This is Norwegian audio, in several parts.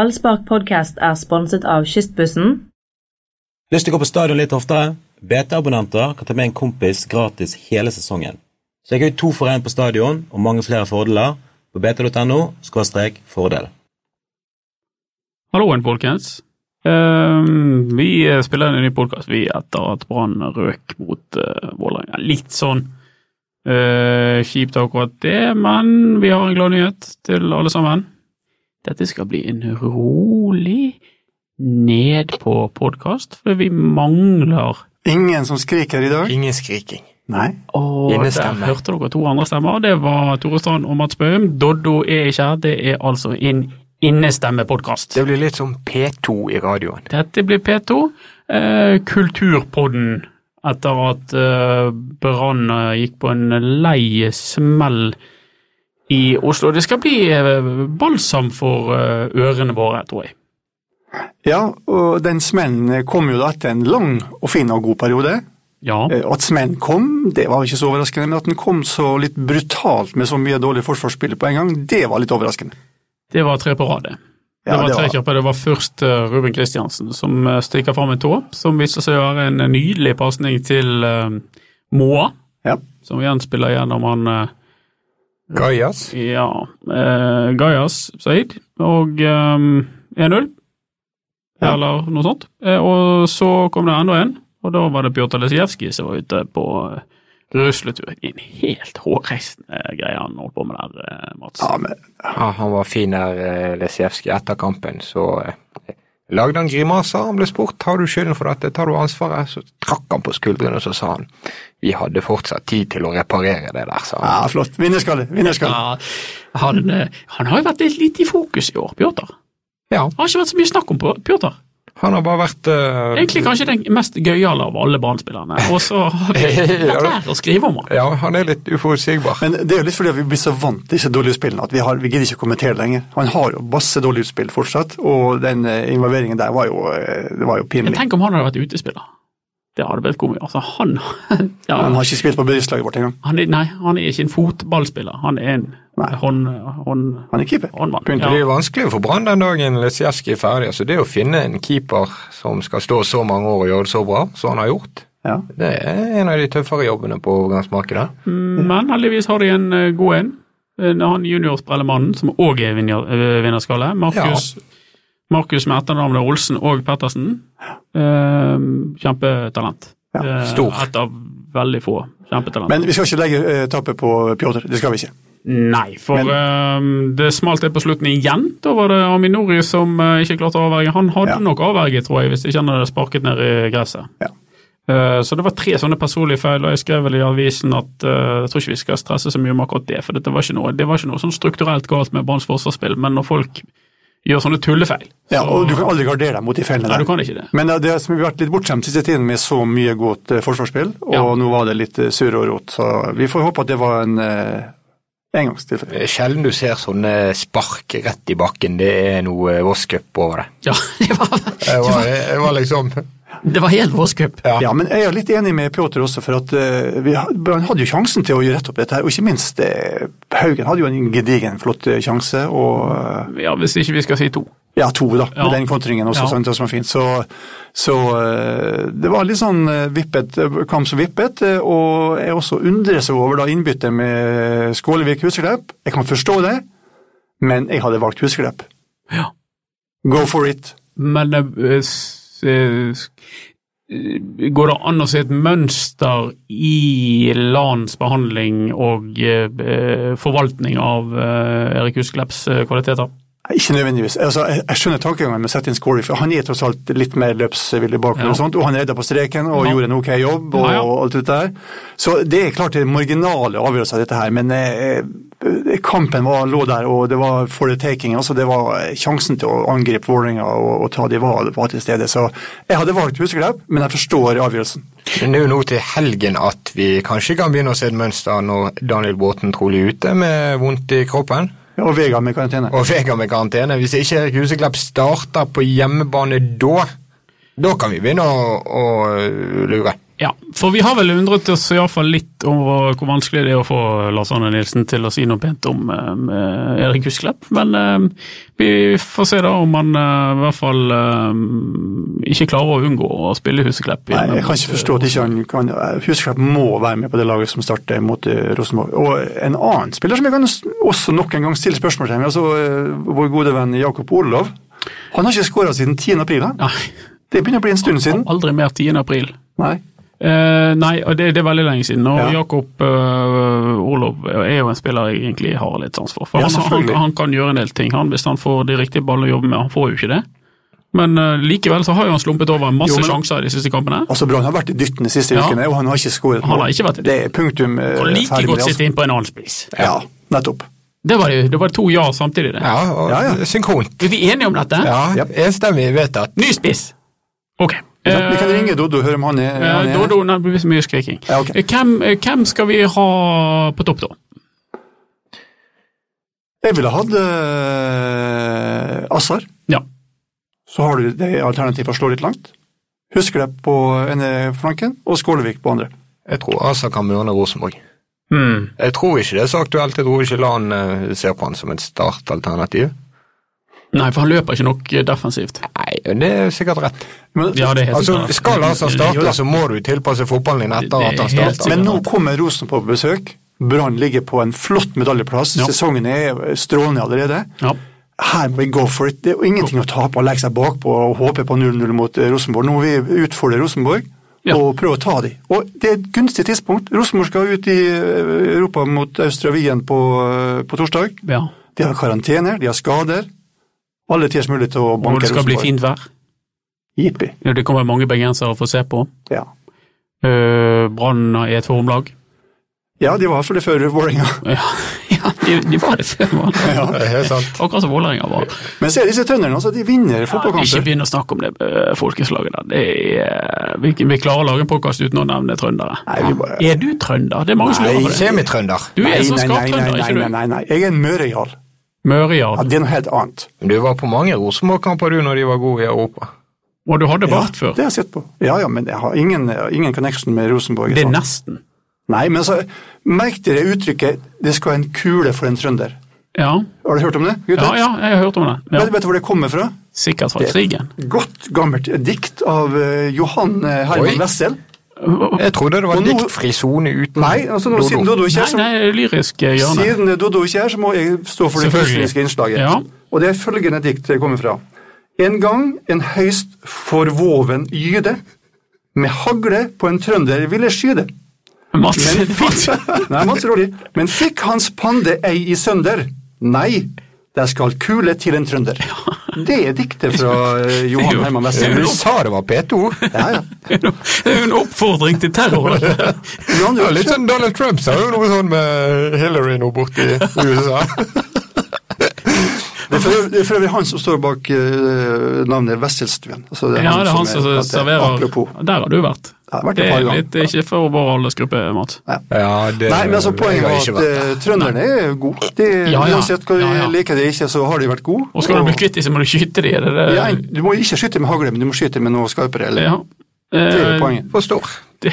Ballspark podcast er sponset av Kystbussen. Lyst til å gå på stadion litt oftere? BT-abonnenter kan ta med en kompis gratis hele sesongen. Så jeg har jo to for én på stadion og mange flere fordeler på bt.no fordel. Halloen, folkens. Ehm, vi eh, spiller inn en ny podkast etter at Brann røk mot uh, Vålerenga. Litt sånn eh, kjipt akkurat det, men vi har en glad nyhet til alle sammen. Dette skal bli en rolig nedpå-podkast, for vi mangler Ingen som skriker i dag? Ingen skriking. Nei. og der Innestemme. hørte dere to andre stemmer. Det var Tore Strand og Mats Bøhm. Doddo er ikke her. Det er altså en innestemmepodkast. Det blir litt som P2 i radioen. Dette blir P2. Eh, Kulturpodden etter at eh, Brann eh, gikk på en lei smell i Oslo. Det skal bli eh, balsam for eh, ørene våre, tror jeg. Ja, og den smellen eh, kom jo da etter en lang og fin og god periode. Ja, Eh, At smellen kom, det var ikke så overraskende, men at den kom så litt brutalt med så mye dårlig forsvarsspill på en gang, det var litt overraskende. det var tre på rad, det. Det Ja, var det tre var- kjappe. Det var først eh, Ruben Kristiansen som eh, stikker fram en tå, som viser seg å være en nydelig pasning til eh, Moa, Ja. som igjen spiller gjennom han eh, Gajas. Ja. Eh, Gajas Said og ehm, 1-0, Ja. eller noe sånt. Eh, og så kom det enda en, og da var det Bjørtar Lesijevskij som var ute på eh, rusletur. En helt hårreisende greie han holdt på med der, eh, Mats. ja, men Ja, han var fin der, eh, Lesijevskij, etter kampen. Så eh, lagde han grimaser. Han ble spurt tar du skylden for dette, tar du ansvaret. Så trakk han på skuldrene og så sa han vi hadde fortsatt tid til å reparere det der, sa han. ja, flott. Vinnerskalle, vinnerskalle. Ja, han, eh, han har jo vært litt lite i fokus i år, Bjørtar. Ja, Har ikke vært så mye snakk om Bjørtar. han har bare vært eh, Egentlig kanskje den mest gøyale av alle Brann-spillerne, og så har vi latt være å skrive om han. Ja, han er litt uforutsigbar. Men det er jo litt fordi at vi blir så vant til disse dårlige spillene at vi, har, vi gidder ikke å kommentere det lenger. Han har jo masse dårlige utspill fortsatt, og den eh, involveringen der var jo, eh, det var jo Men pinlig. tenk om han hadde vært utespiller. Det hadde blitt komisk. Altså, han, ja, Han har ikke spilt på bedriftslaget vårt engang. han, er, nei, han er ikke en fotballspiller, han er en Nei. hånd, hånd, Han er keeper. håndmann. Det er Ja. jo vanskelig for Brann den dagen Lesijevskij er ferdig. Altså, det å finne en keeper som skal stå så mange år og gjøre det så bra som han har gjort, Ja. det er en av de tøffere jobbene på overgangsmarkedet. Men heldigvis har de en eh, god en. En- Han junior-sprellemannen, som òg er vinner, eh, vinnerskalle. Markus, Markus med etternavnet Olsen og Pettersen. Eh, kjempetalent. Ja, Eh, stor. Et av veldig få kjempetalent. Men vi skal ikke legge eh, tappet på Pjotr, det skal vi ikke. Nei, for Men- ehm, det smalt det på slutten igjen. Da var det Aminori som eh, ikke klarte å avverge. Han hadde Ja. nok avverget, tror jeg, hvis ikke han hadde sparket ned i gresset. Ja. Eh, så det var tre sånne personlige feil, og jeg skrev vel i avisen at eh, jeg tror ikke vi skal stresse så mye om akkurat det, for dette var ikke noe, det var ikke noe sånn strukturelt galt med Branns forsvarsspill, men når folk gjør sånne tullefeil, Ja, så og du kan aldri gardere deg mot de fellene Nei, du der. kan ikke det. Men eh, det har vi har vært litt bortskjemt siste tiden med så mye godt eh, forsvarsspill, og Ja. nå var det litt eh, surr og rot, så vi får håpe at det var en eh, engangstilfelle. Det er sjelden du ser sånne spark rett i bakken. Det er noe Voss Cup over det. Ja, det var, Jeg var, jeg var liksom det var helt vårskup. Ja. Ja, men jeg er litt enig med Pjotr også, for at eh, vi, ha- Brann hadde jo sjansen til å gjøre rett opp dette her, og ikke minst eh, Haugen hadde jo en gedigen, flott eh, sjanse, og eh, Ja, hvis ikke vi skal si to. ja, to da, Ja. med den kontringen også, Ja. sant, som var fint. Så, så eh, det var litt sånn eh, vippet, eh, kamp som vippet, eh, og jeg også undres over da innbyttet med Skålevik Huseklepp. Jeg kan forstå det, men jeg hadde valgt Huseklepp. Ja. Go for it. Men eh, s- eh, s- eh, går det an å se et mønster i Lans behandling og eh, eh, forvaltning av eh, Erik Husklepps eh, kvaliteter? Nei, Ikke nødvendigvis. Altså, jeg, jeg skjønner tankegangen med å sette inn Skålevik, for han er tross alt litt mer løpsvillig bakover, Ja. og sånt, og han redda på streken og Ja. gjorde en ok jobb og, Ja, ja. og alt dette der. Så det er klart det er marginale avgjørelser av dette her, men eh, eh, kampen var, lå der, og det var for the taking. altså det var eh, Sjansen til å angripe Vålerenga og, og ta de var, var til stede. Så jeg hadde valgt Huseklepp, men jeg forstår avgjørelsen. Men det er jo nå til helgen at vi kanskje kan begynne å se et mønster når Daniel Bråten trolig er ute med vondt i kroppen. Ja, og Vega med karantene. Og Vegard med karantene. Hvis ikke Erik Huseklepp starter på hjemmebane da, da kan vi begynne å, å lure. Ja, for vi har vel undret oss iallfall litt over hvor vanskelig det er å få Lars Arne Nilsen til å si noe pent om eh, Erik Husklepp, men eh, vi får se da om han eh, i hvert fall eh, ikke klarer å unngå å spille Husklepp. Nei, igjen. jeg kan ikke forstå at ikke han kan Husklepp må være med på det laget som starter mot eh, Rosenborg. Og en annen spiller som jeg kan s- også nok en gang stille spørsmål til, altså eh, vår gode venn Jakob Orlov. Han har ikke skåra siden 10. april. han. Nei, Det begynner å bli en stund siden. aldri mer 10. april. Nei. Eh, nei, og det, det er veldig lenge siden. Og Ja. Jakob uh, Olov er jo en spiller jeg egentlig har litt sans for. for Ja, han, han, selvfølgelig. han kan gjøre en del ting han, hvis han får de riktige ballene å jobbe med. Han får jo ikke det. Men eh, likevel så har jo han slumpet over masse Jo, men- sjanser i de siste kampene. Altså Brann har vært i dytten de siste Ja. ukene, og han har ikke skåret Han har ikke vært i Det er punktum. eh, Og like ferdig med godt det, altså. sitte inn på en annen spiss. Ja, nettopp. Det var, det- det var to ja samtidig, det. Ja, og Ja, ja. synkront. Er vi enige om dette? Ja, Ja. enstemmig vedtatt. Ny spiss! Ok. Ja, Vi kan Eh, ringe Doddo og høre om han er, eh, han er Dodo, nei, det blir så mye skriking. Ja, ok. Eh, Hvem, eh, hvem skal vi ha på topp, da? Jeg ville hatt eh, Assar. Ja. Så har du det alternativet å slå litt langt. Husklepp på ene flanken og Skålevik på andre. Jeg tror Asa kan murne Rosenborg. Hmm. Jeg tror ikke det er så aktuelt. Jeg tror ikke Lan eh, ser på han som et startalternativ. Nei, for han løper ikke nok eh, defensivt. Nei, og det er sikkert rett. Men, Ja, det er helt Altså, klart. Skal Asa starte, så må du tilpasse fotballen din etter Det- at det er han helt starter. men nå kommer Rosen på besøk. Brann ligger på en flott medaljeplass. Ja. Sesongen er strålende allerede. Ja. Her må vi go for it. Det er jo ingenting å tape å legge seg bakpå og håpe på 0-0 mot eh, Rosenborg. Nå må vi utfordre Rosenborg Ja. og prøve å ta dem. Og det er et gunstig tidspunkt. Rosenborg skal ut i eh, Europa mot Austria Wien på, eh, på torsdag. ja. De har karantener, de har skader. Alle tiders mulighet til å Og banke det skal bli fint vær. Jippi. Ja, Det kommer mange bergensere å få se på. Ja. Eh, Brann er et formlag. ja, de var i hvert fall det før Vålerenga. Ja, ja de, de var det før. var det? Det er helt sant. Akkurat som Vålerenga var. Men så er disse trønderne altså, de vinner Ikke fotballkamper. begynn å snakke om det eh, folkeslaget der. Det er, eh, vi, vi klarer å lage en podkast uten å nevne trøndere. Nei, vi bare- Er du trønder? Det er mange som lurer på det. Semitrønder. Du er så nei, skarp nei, nei, trønder, nei, ikke nei, du? nei, nei. Jeg er en mørejal. Ja, Mørjarl. det er noe helt annet. Du var på mange Rosenborg-kamper du når de var gode i Europa. Og du hadde Ja, bart før. Det har jeg sett på. Ja, ja, men jeg har ingen, ingen connection med Rosenborg. Det er sånn. nesten. Nei, men altså, merk dere uttrykket 'det skal en kule for en trønder'. Ja, Har du hørt om det? ja, gutter? ja jeg har hørt om det. Vet, Ja. vet du hvor det kommer fra? Sikkert fra krigen. Godt gammelt dikt av eh, Johan eh, Oi. Herman Wessel. Jeg trodde det var Og nå- diktfri sone uten Nei, altså nå, Dodo. siden Dodo ikke Nei, er så nei, lyrisk eh, hjørne. Siden Dodo ikke er her, så må jeg stå for det Selvfølgelig. kunstneriske innslaget. Ja. Og det er følgende dikt det kommer fra. En gang en høyst forvoven gyde, med hagle på en trønder ville skyde. Mats, Men Mats. fikk, nei, Mats Roli, men fikk hans pande ei i sønder? Nei, der skal kule til en trønder. Det er diktet fra eh, Johan Herman Du Wessel. sa det var P2. Ja, ja. Det er jo en oppfordring til terror. dette. Men han Ja, gjør litt ikke- sånn Donald Trump sa jo noe sånn med Hillary nå borti USA. Det er for- det er for øvrig han som står bak eh, navnet Wesselstuen. Altså, det er Ja, det er han som som er- at det- serverer. Apropos. Der har du vært. Ja, jeg har vært Det et par er ganger. litt det er ikke for vår aldersgruppe, Mats. Ja, det Nei, men altså jeg Poenget har var ikke at vært der. eh, trønderne er gode. De, Ja, ja. Uansett hva Ja, ja. du liker det ikke, så har de vært gode. Og skal du bli kvitt dem, så må du skyte dem. Det, det, ja, en- Du må ikke skyte med hagle, men du må skyte med noe skarpere. Eller? ja. Det er jo Eh, poenget. Forstår. det,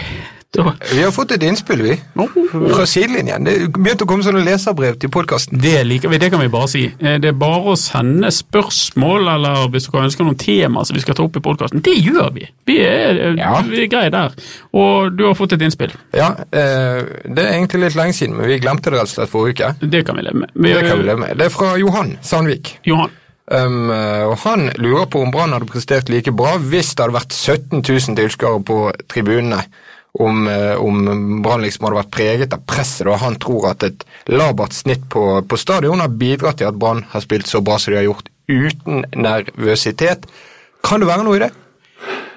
da- Vi har fått et innspill, vi. Fra sidelinjen. Det begynte å komme sånne leserbrev til podkasten. det liker vi, det kan vi bare si. Eh, Det er bare å sende spørsmål, eller hvis dere ønsker noen tema som vi skal ta opp i podkasten. Det gjør vi! Vi er, eh, Ja. vi er greie der. Og du har fått et innspill. Ja, eh, det er egentlig litt lenge siden, men vi glemte det rett og slett forrige uke. Det kan vi leve med. Det kan vi leve med. Det er fra Johan Sandvik. Johan. Um, og han lurer på om Brann hadde prestert like bra hvis det hadde vært 17 000 tilskuere på tribunene. Om, eh, om Brann liksom hadde vært preget av presset. Og han tror at et labert snitt på, på stadion har bidratt til at Brann har spilt så bra som de har gjort, uten nervøsitet. Kan det være noe i det?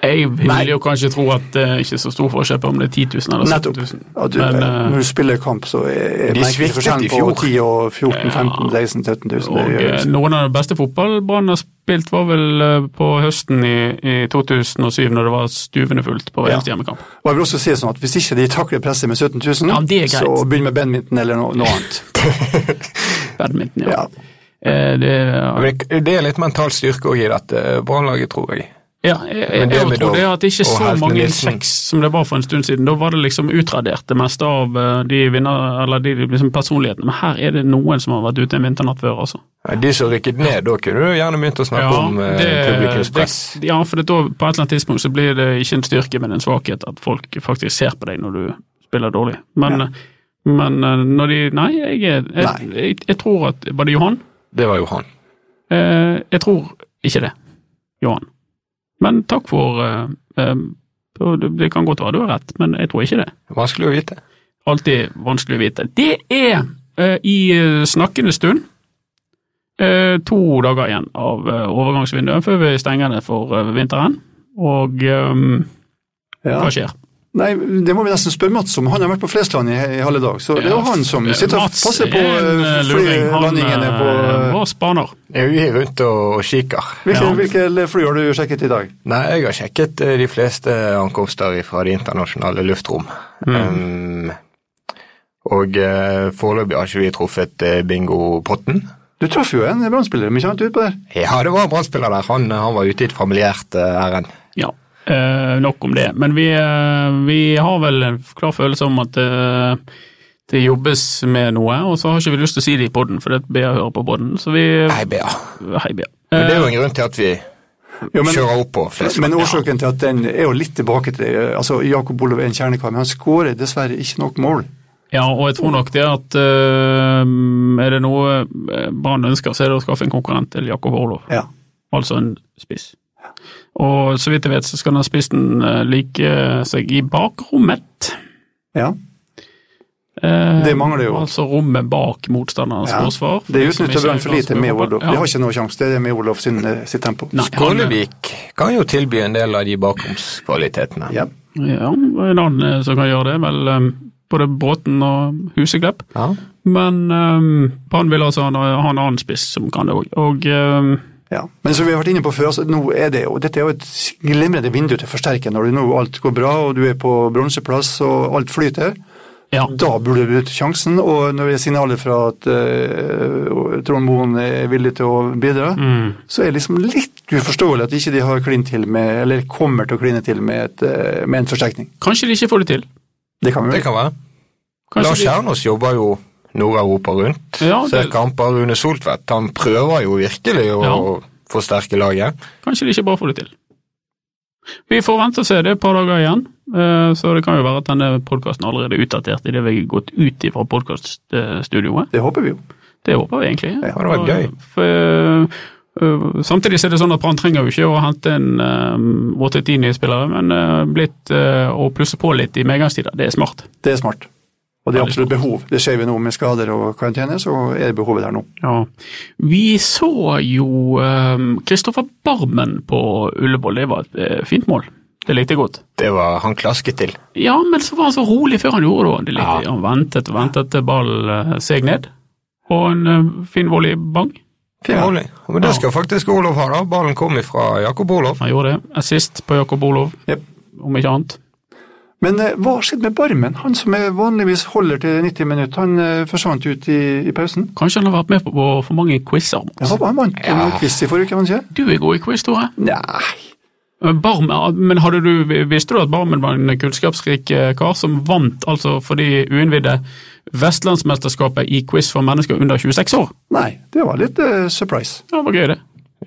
Jeg vil jo kanskje tro at det er ikke så stor forskjell på om det er 10 000 eller 17 Nettopp. 000. Ja, du, Altså, Men, eh, når du spiller kamp, så er De merker du sviktet i forskjellen fjor. på 10 og 14 15 16 17 000. Og Det eh, gjør det ikke. noen av de beste fotballbanene har spilt var vel eh, på høsten i, i 2007, når det var stuvende fullt på hver eneste hjemmekamp. Og jeg vil også si sånn at Hvis ikke de takler presset med 17 000, Ja, det er greit. så begynn med badminton eller noe, noe annet. Badminton, ja. Ja. Eh, Det, Men det- Det er litt mental styrke òg i dette eh, Brann-laget, tror jeg. Ja, jeg, Men jeg, det jeg med tror Dov det er at det ikke er og så Helten mange Nilsen. insekt som det var for en stund siden. Da var det liksom utradert det meste av eh, de vinner, eller de liksom personlighetene. Men her er det noen som har vært ute en vinternatt før, altså. Ja, de som rykket ned, da kunne du gjerne begynt å snakke om eh, publikumspress. det- ja, for det, da, på et eller annet tidspunkt så blir det ikke en styrke, men en svakhet at folk faktisk ser på deg når du spiller dårlig. Men, Ja. men eh, når de Nei, jeg, er- jeg, Nei. jeg, jeg tror at Var det Johan? Det, var jo han. Eh, jeg tror ikke det, Johan. Men takk for eh, eh, og det- Det kan godt være du har rett, men jeg tror ikke det. Vanskelig å vite. Alltid vanskelig å vite. Det er eh, i eh, snakkende stund eh, to dager igjen av eh, overgangsvinduet før vi stenger det for eh, vinteren. Og eh, Ja. hva skjer? Nei, det må vi nesten spørre Mats om. Han har vært på Flesland i, i halve dag, så det er jo Ja, han som eh, sitter og Mats passer på er en, eh, eh, luring. Han flylandingene eh, på eh, var spaner. Jeg er rundt og, og kikker. hvilke, ja. hvilke fly har du sjekket i dag? Nei, jeg har sjekket eh, de fleste ankomster fra det internasjonale luftrom. Mm. Um, og eh, foreløpig har ikke vi truffet eh, bingopotten. Du traff jo en brannspiller, men ikke sant, utpå der? Ja, det var en brannspiller der. Han, eh, han var ute i et familiært eh, ærend. Ja, eh, nok om det. Men vi, eh, vi har vel en klar følelse om at eh, det jobbes med noe, og så har ikke vi lyst til å si det i poden, for det er Bea hører på poden. Så vi Nei, Bea. Hei, Bea. Men det er Eh, jo en grunn til at vi Ja, men- kjører opp på flest. Men årsaken til at den er jo litt tilbake til eh, altså Jakob Olav er en kjernekar, men han skårer dessverre ikke nok mål. ja, og jeg tror nok det at eh, er det noe eh, Brann ønsker, så er det å skaffe en konkurrent til Jakob Orlov, Ja. altså en spiss. Og så vidt jeg vet, så skal den spissen eh, like seg i bakrommet. ja. Eh, Det mangler jo. Altså rommet bak motstanderens Ja. forsvar. Det de som utnytter ikke Brann for lite med Olav. Ja. De har ikke noe sjanse, det er det med Olav sin, eh, sitt tempo. Nei, han, Skålevik kan jo tilby en del av de bakromskvalitetene. Ja. ja, en annen eh, som kan gjøre det, vel eh, både Bråten og Huseklepp. Ja. Men eh, han vil altså ha en- ha en annen spiss som kan det òg. Og eh, Ja. Men som vi har vært inne på før, altså, nå er det jo, dette er jo et glimrende vindu til å forsterke når det nå alt går bra og du er på bronseplass og alt flyter. ja, Da burde du bruke sjansen, og når det er signaler fra at eh, Trond Moen er villig til å bidra, så er det liksom litt uforståelig at ikke de har klint til med, eller kommer til å kline til med, et, eh, med en forsterkning. kanskje de ikke får det til. Det kan vi Det jo. kan være. Kanskje Lars de- Kjernås jobber jo Nord-Europa rundt. Ja, Ser det- kamper Rune Soltvedt. Han prøver jo virkelig å Ja. forsterke laget. Kanskje de ikke bare får det til. Vi får vente og se, det er et par dager igjen. eh, Så det kan jo være at denne podkasten allerede er utdatert idet vi har gått ut ifra podkaststudioet. Det håper vi jo. Det håper vi egentlig. Ja, det var Og, gøy. for, øh, samtidig så er det sånn at Brann trenger jo ikke å hente en øh, 8-10 nye spillere, men øh, blitt øh, å plusse på litt i medgangstider, det er smart. Det er smart. Og det Ja, er det er absolutt behov. Det ser vi nå med skader og karantene, så er det behovet der nå. Ja. Vi så jo øh, Kristoffer Barmen på Ullevål, det var et øh, fint mål. Det likte jeg godt. Det var han klasket til. Ja, men så var han så rolig før han gjorde det. det likte, jeg. Han ventet og ventet til ballen øh, seg ned, og en øh, fin volley bang. Fin Ja. volley. Men det Ja. skal faktisk Olof ha, da. Ballen kom ifra Jakob Olof. Han gjorde det. Assist på Jakob Olov, Jep. om ikke annet. Men eh, hva har skjedd med Barmen? Han som er vanligvis holder til 90 minutter, han eh, forsvant ut i, i pausen. Kanskje han har vært med på, på for mange quizer. Jeg håper han vant ja. noen quiz i forrige uke, var han ikke? Du er god i quiz, Tore. Nei. Barmen, ja, men hadde du, Visste du at Barmen var en kunnskapsrik eh, kar som vant altså for de uinnvidde Vestlandsmesterskapet i quiz for mennesker under 26 år? Nei, det var litt eh, surprise. Ja, Det var gøy, det.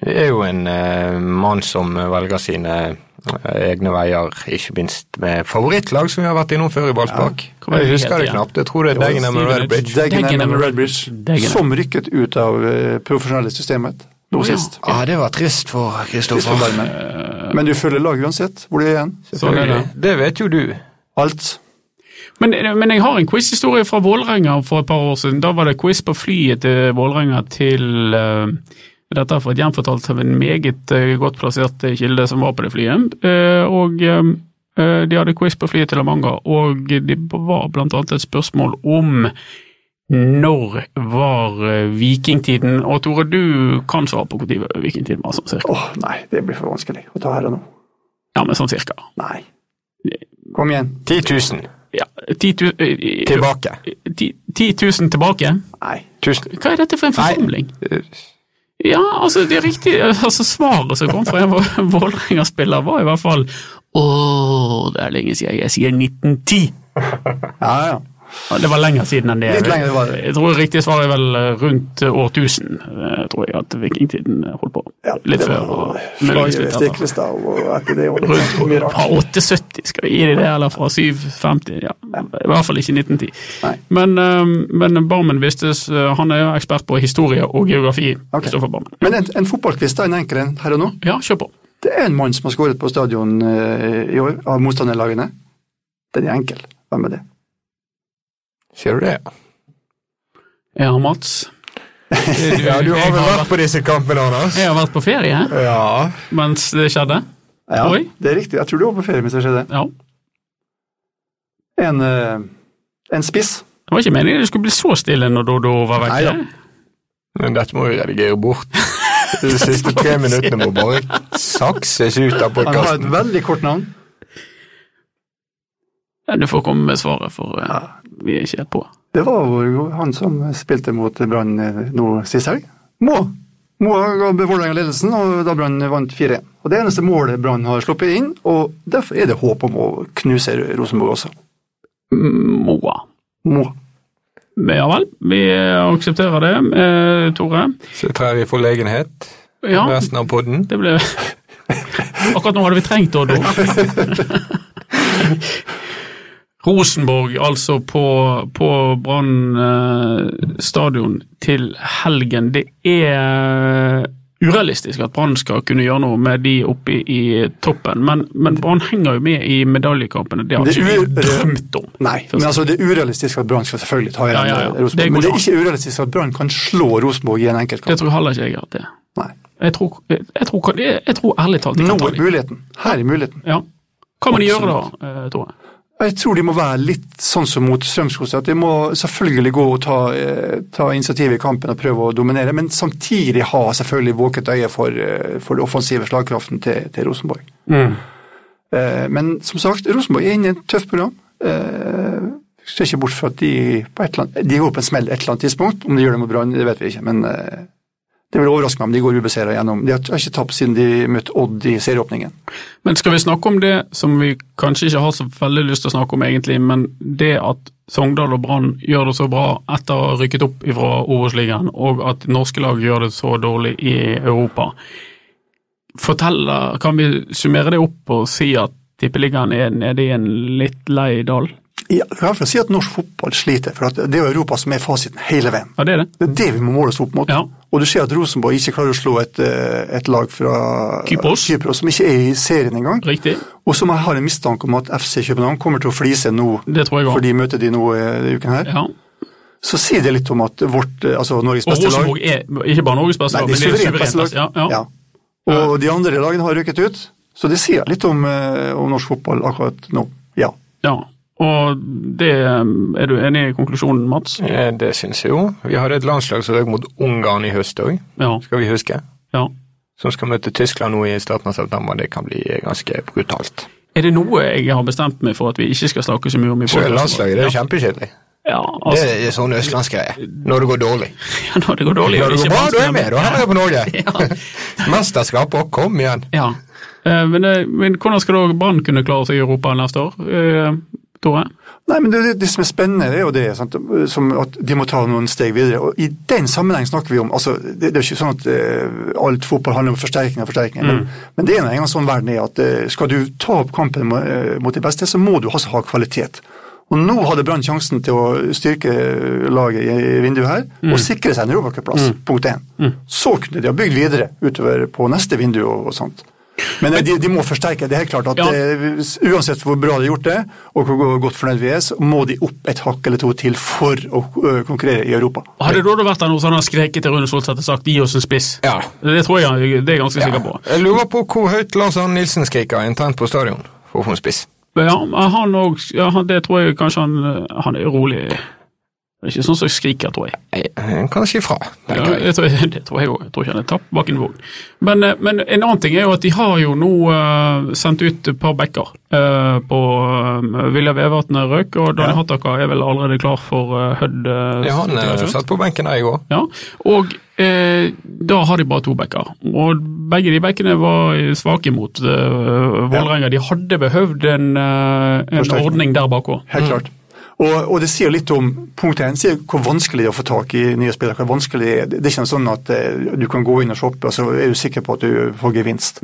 Det er jo en eh, mann som velger sine eh, egne veier, ikke minst med favorittlag som vi har vært innom før i Ballspark. Hva var det jeg de het husker det igjen? knapt. Jeg tror det er Jo, Dagenham og Stevenage. Redbridge. Dagenham Dagenham og Redbridge, Dagenham. som rykket ut av eh, profesjonelle systemet nå Å, ja. sist. Ja, det var trist for Christopher Kristoffer. Barmen. Men du følger lag uansett, hvor de er igjen. Sånn er det. Det vet jo du. Alt. Men, men jeg har en quizhistorie fra Vålerenga for et par år siden. Da var det quiz på flyet til Vålerenga til eh, Dette er for et gjenfortalt av en meget eh, godt plassert eh, kilde som var på det flyet. Eh, og eh, eh, de hadde quiz på flyet til Amanga, og det var blant annet et spørsmål om når var eh, vikingtiden? Og Tore, du kan svare på når vikingtiden var, sånn cirka. Åh, nei, det blir for vanskelig å ta her og nå. Ja, men sånn cirka. Nei. Kom igjen. 10 000 Ja, 10 000 tilbake. tilbake? Nei. Tusen. Hva er dette for en Nei. forsamling? Ja, altså det er riktig. Altså Svaret som kom fra en Vå- Vålerenga-spiller var i hvert fall Åh, det er lenge siden. Jeg sier 1910. Ja, ja. Ja, Det var lenger siden enn det. Litt lenger var det. Jeg tror riktig svar er vel eh, rundt eh, årtusen, eh, tror jeg at vikingtiden eh, holdt på. ja Litt det var før og muligens Slaget litt ved etter. Stiklestad og etter det. Og Rundt så mye fra rart. 870, skal vi gi dem det, eller fra 750? Ja. I hvert fall ikke 1910. Nei. Men, eh, men Barmen Vistes eh, han er jo ekspert på historie og geografi. Ok. Kristoffer Barmen. Men en, en fotballquiz, da, en enkel en her og nå. Ja, kjør på. Det er en mann som har skåret på stadion eh, i år, av motstanderlagene. Den er enkel. Hvem er det? Sier du det? Ja, Mats. Ja, du har jeg vel vært på disse kampene, Anders? Jeg har vært på ferie Ja. mens det skjedde. Ja, Oi. Det er riktig. Jeg tror du var på ferie mens det skjedde. Ja. Det En, eh, en spiss. var ikke meningen det skulle bli så stille når Dodo var Nei vekke. da. Men dette må vi redigere bort. De siste tre minuttene må bare sakses ut Han av har podkasten. et veldig kort navn. Ja, Du får komme med svaret, for eh, vi er ikke helt på. Det var jo han som spilte mot Brann eh, nå sist helg. Må! Må ga Vålerenga ledelsen, og da Brann vant 4-1. Og Det eneste målet Brann har sluppet inn, og derfor er det håp om å knuse Rosenborg også. Moa. Må. Ja vel, vi eh, aksepterer det, eh, Tore. Så trær i forlegenhet Ja, resten av podden. det ble Akkurat nå hadde vi trengt Oddo. Rosenborg altså på, på Brann eh, stadion til helgen. Det er urealistisk at Brann skal kunne gjøre noe med de oppe i toppen, men, men Brann henger jo med i medaljekampene. Det har Det ikke vi er ure- drømt om. Nei, men altså det er urealistisk at Brann skal selvfølgelig ta igjen Ja, ja, ja. eh, Rosenborg. Det går men det an. er ikke urealistisk at Brann kan slå Rosenborg i en Det enkeltkamp. tror jeg heller ikke jeg at det er. Nei. Jeg tror, jeg, jeg tror, jeg, jeg tror ærlig talt de Nå kan ta er dem. muligheten. Her er muligheten. Ja. Hva må de gjøre da, eh, Tore? Jeg tror de må være litt sånn som mot Strømskog, at de må selvfølgelig gå og ta, eh, ta initiativ i kampen og prøve å dominere, men samtidig ha selvfølgelig våket øye for, eh, for den offensive slagkraften til, til Rosenborg. Mm. Eh, Men som sagt, Rosenborg er inne i et tøft program. Eh, Ser ikke bort fra at de på et eller annet, de går på en smell et eller annet tidspunkt. Om de gjør det mot Brann, det vet vi ikke, men eh, det vil overraske meg om de går ubeseira gjennom. De har har ikke tapt siden de møtte Odd i serieåpningen. Men skal vi snakke om det som vi kanskje ikke har så veldig lyst til å snakke om egentlig, men det at Sogndal og Brann gjør det så bra etter å ha rykket opp fra Obos-ligaen, og at norske lag gjør det så dårlig i Europa. Forteller, kan vi summere det opp og si at Tippeligaen er nede i en litt lei dal? Ja, jeg kan i hvert fall si at norsk fotball sliter, for at det er jo Europa som er fasiten hele veien. Ja, det er det. Det er det vi må måle oss opp mot. Ja. Og du ser at Rosenborg ikke klarer å slå et, eh, et lag fra Kypros. som ikke er i serien engang, Riktig. og som jeg har en mistanke om at FC København kommer til å flise nå, Det tror jeg for òg. de møter de nå eh, denne uken her. Ja. Så sier det litt om at vårt, eh, altså Norges Og beste lag Rosenborg er ikke bare Norges beste Nei, lag, det men er det er suverent suverent beste lag. beste. Ja, ja. Og de andre lagene har røket ut, så det sier litt om, eh, om norsk fotball akkurat nå. Ja. Ja, og det um, Er du enig i konklusjonen, Mats? Eh, Det syns jeg jo. Vi hadde et landslag som røk mot Ungarn i høst òg, Ja. skal vi huske. ja. Som skal møte Tyskland nå i starten av september. Det kan bli ganske brutalt. Er det noe jeg har bestemt meg for at vi ikke skal snakke så mye om i Selv landslaget, det er Ja, kjempekjedelig. ja, Det altså, er sånn østlandsgreie. Når det går dårlig. ja, når det går dårlig Når det går bra, da er jeg med. Da heier jeg på Ja. Norge. Mesterskap og kom igjen. Ja. Eh, Men, eh, men hvordan skal da Brann kunne klare seg i Europa neste år, eh, Tore? Nei, men det, det, det som er spennende, det er jo det sant? Som at de må ta noen steg videre. Og I den sammenheng snakker vi om altså, Det, det er jo ikke sånn at eh, alt fotball handler om forsterkning og forsterkning, men, men det er nå engang sånn verden er at eh, skal du ta opp kampen mo- eh, mot de beste, så må du altså ha kvalitet. Og nå hadde Brann sjansen til å styrke eh, laget i i vinduet her og sikre seg en europacupplass, punkt én. Så kunne de ha bygd videre utover på neste vindu og, og sånt. Men eh, de, de må forsterke. Det er helt klart at Ja. eh, uansett hvor bra de har gjort det, og hvor godt fornøyd vi er, så må de opp et hakk eller to til for å eh, konkurrere i Europa. Hadde det da vært der noe sånn han skreket til Rune Solseth og sagt 'gi oss en spiss'? Ja. Det tror jeg han- det er jeg ganske sikker på. Jeg lurer på hvor høyt Lars Arne Nilsen skriker internt på stadion for å få en spiss. Men Ja, men han og, ja, han- det tror jeg kanskje han eh, Han er rolig. Det er ikke sånn som skriker, tror jeg. Nei, han kan si fra. Ja, tenker jeg. jeg tror, det tror jeg òg. Jeg tror ikke han er tapt bak en vogn. Men, eh, men en annen ting er jo at de har jo nå eh, sendt ut et par backer. eh, på uh, Vilja Vevatn røk, og Daniel Hattaka er vel allerede klar for uh, Hødd. eh, Ja, han til eh, Haugesund. satt på benken der i går. Ja, og eh, da har de bare to backer. Og begge de backene var svake mot eh, Vålerenga. De hadde behøvd en, eh, en Forsterkning. ordning der bak òg. Helt klart. Og, og det sier litt om punkt én, sier hvor vanskelig det er å få tak i nye spillere. hvor vanskelig Det er Det er ikke noe sånn at eh, du kan gå inn og shoppe, og så er du sikker på at du får gevinst.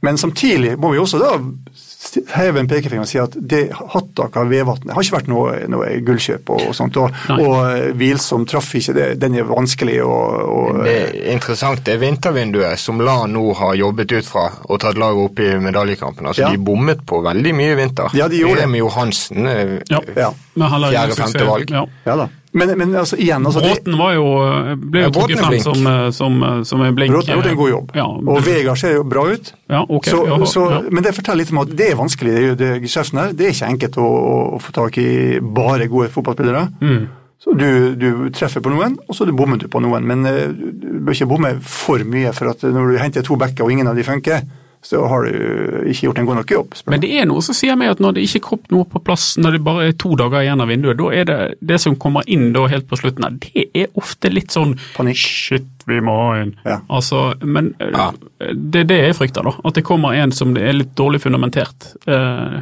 Men samtidig må vi også da si- heve en pekefinger og si at det Hattaka Vevatnet har ikke vært noe, noe gullkjøp og, og sånt. Og, Nei. og eh, Hvilsom traff ikke det. Den er vanskelig å å- Det er interessant det er vintervinduet som LAN nå har jobbet ut fra og tatt laget opp i medaljekampen. Altså, Ja. De bommet på veldig mye i vinter. Ja, de gjorde det. Remi Johansen eh, Ja. Ja, Men han la jo Fjerde, suksess- femte valg. Ja. ja da. Men, men altså, igjen altså, det- Bråten var jo, eh, ble Ja, jo trukket Bråten er frem blink. som, eh, som, eh, som en blink. Bråten har gjort en god jobb. Ja, og Vegard ser jo bra ut. ja, ok. så, ja, så, ja. Men det forteller litt om at det er vanskelig, det, er jo det geskjeften her. Det er ikke enkelt å, å få tak i bare gode fotballspillere. Mm. Så du, du treffer på noen, og så du bommer du på noen. Men eh, du du bør ikke bomme for mye, for at når du henter to backer og ingen av de funker, så har du ikke gjort en god nok jobb. spør Men du. det er noe som sier meg at når det ikke kom noe på plass, når det bare er to dager igjen av vinduet, da er det det som kommer inn da helt på slutten her, det er ofte litt sånn Panikk. Shit, vi må ha en. Ja. Altså, men eh, Ja. det er det jeg frykter, da. At det kommer en som det er litt dårlig fundamentert. eh,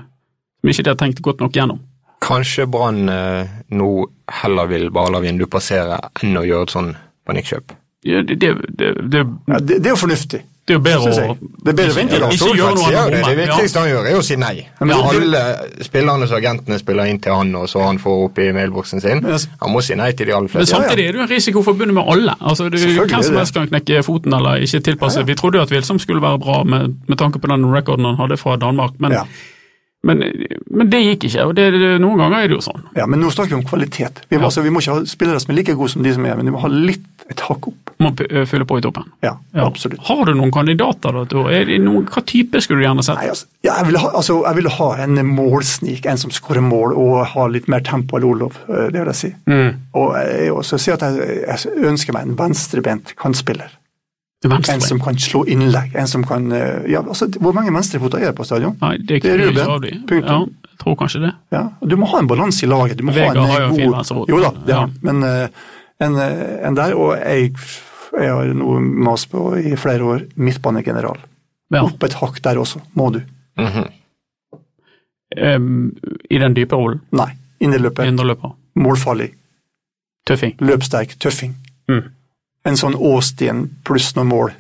Som ikke de har tenkt godt nok gjennom. Kanskje Brann eh, nå heller vil bare la vinduet passere enn å gjøre et sånn panikkjøp. Ja, Det, det, det, det, ja, det, det er jo fornuftig. det er jo bedre Synes jeg. å Det er bedre å vente, da. Ikke Solskjær gjør noe sier jo annet enn det. Det bombe, ja. viktigste han gjør, er å si nei. men det- Alle spillernes og agentene spiller inn til han, og så han får opp i mailboksen sin. Men altså- Han må si nei til de aller Men fleste. samtidig er det jo en risiko forbundet med alle. Altså, du, Selvfølgelig hvem er som det. helst kan knekke foten eller ikke tilpasse. Vi trodde jo at Wilsom skulle være bra med, med tanke på den rekorden han hadde fra Danmark, men, Ja. men, men det gikk ikke. og det, det- Noen ganger er det jo sånn. Ja, men nå snakker vi om kvalitet. Vi må, Ja. altså, vi må ikke ha spillere som er like gode som de som er, men vi må ha litt et hakk opp. Må p- ø, fylle på i toppen. Ja, Ja. absolutt. Har du noen kandidater, da? Tor? Er det noen, hva type skulle du gjerne sett? Nei, altså, ja, jeg, ville ha, altså, jeg ville ha en målsnik, en som skårer mål og har litt mer tempo enn Olov. eh, Det vil jeg si. Og jeg vil også si at jeg, jeg ønsker meg en venstrebent kantspiller. En Venstre? som kan slå innlegg. En som kan eh, ja, altså, Hvor mange venstrefoter er det på stadion? Nei, det Det kunne er du ikke Ruben. av de. Punktum. Ja, jeg tror kanskje det. Ja, og du må ha en balanse i laget. Du må Vegard ha en, har jo en god, fin venstrefot. Jo da, det Ja. har han. Men eh, en, eh, en der, og jeg, jeg har nå mast på i flere år, midtbanegeneral. Ja. Opp et hakk der også, må du. Mhm. Em, I den dype rollen. Nei. Innerløper, Indreløper. målfarlig, Tøffing. løpsterk, tøffing. Mm. en sånn åstien pluss noen mål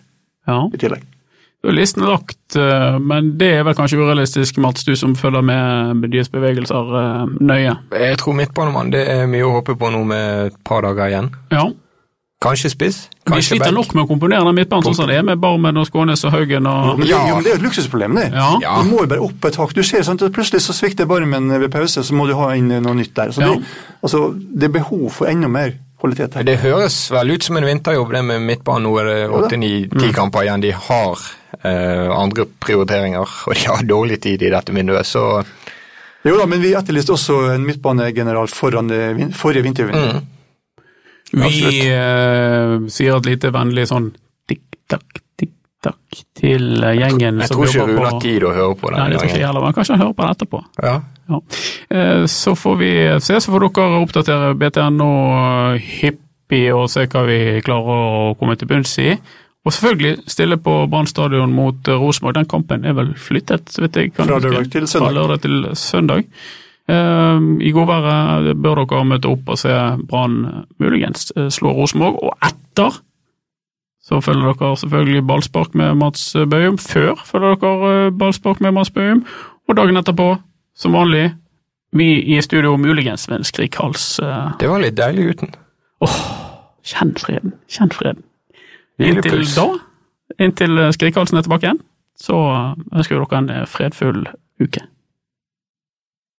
Ja. i tillegg. Da er listen lagt, eh, men det er vel kanskje urealistisk, Mats, du som følger med med deres bevegelser eh, nøye. Jeg tror midtbanemann, det er mye å håpe på nå med et par dager igjen. Ja, Kanskje spiss, Vi kanskje sliter nok med å komponere den midtbanen sånn som det er med Barmen og Skånes og Haugen og Men det, Ja. jo, men det er jo et luksusproblem, det. Ja. Ja. Du må jo bare opp et hakk. Du ser sånn at Plutselig så svikter barmen ved pause, så må du ha inn noe nytt der. Så Ja. det, altså, det er behov for enda mer kvalitet her. Det høres vel ut som en vinterjobb, det med midtbanen. Nå er det da. Mm. åtte-ni-ti kamper igjen. De har eh, andre prioriteringer, og de har dårlig tid i dette vinduet, så Jo da, men vi etterlyste også en midtbanegeneral foran det vin- forrige Mm. vintervindu. Vi eh, sier et lite vennlig sånn tikk-takk, tikk-takk til eh, gjengen jeg som tror ikke jobber Rune på har tid å høre på Nei, den det tror ikke jeg gangen. heller, men kanskje han hører på det etterpå. Ja. Ja. Eh, Så får vi se, så får dere oppdatere BTNO hyppig og se hva vi klarer å komme til bunns i. Og selvfølgelig stille på Brann stadion mot eh, Rosenborg. Den kampen er vel flyttet? så Vet jeg, kan Fra huske. lørdag til Fra søndag. lørdag til søndag. Eh, I godværet bør dere møte opp og se Brann eh, muligens eh, slå Rosenborg. Og etter så følger dere selvfølgelig ballspark med Mats Bøhum. Før følger dere eh, ballspark med Mats Bøhum. Og dagen etterpå, som vanlig, vi i studio muligens med en skrikhals. eh, Det var litt deilig uten. Kjenn freden, kjenn freden. Inntil Hvilepuls. da, inntil eh, Skrikhalsen er tilbake igjen, så eh, ønsker vi dere en eh, fredfull uke.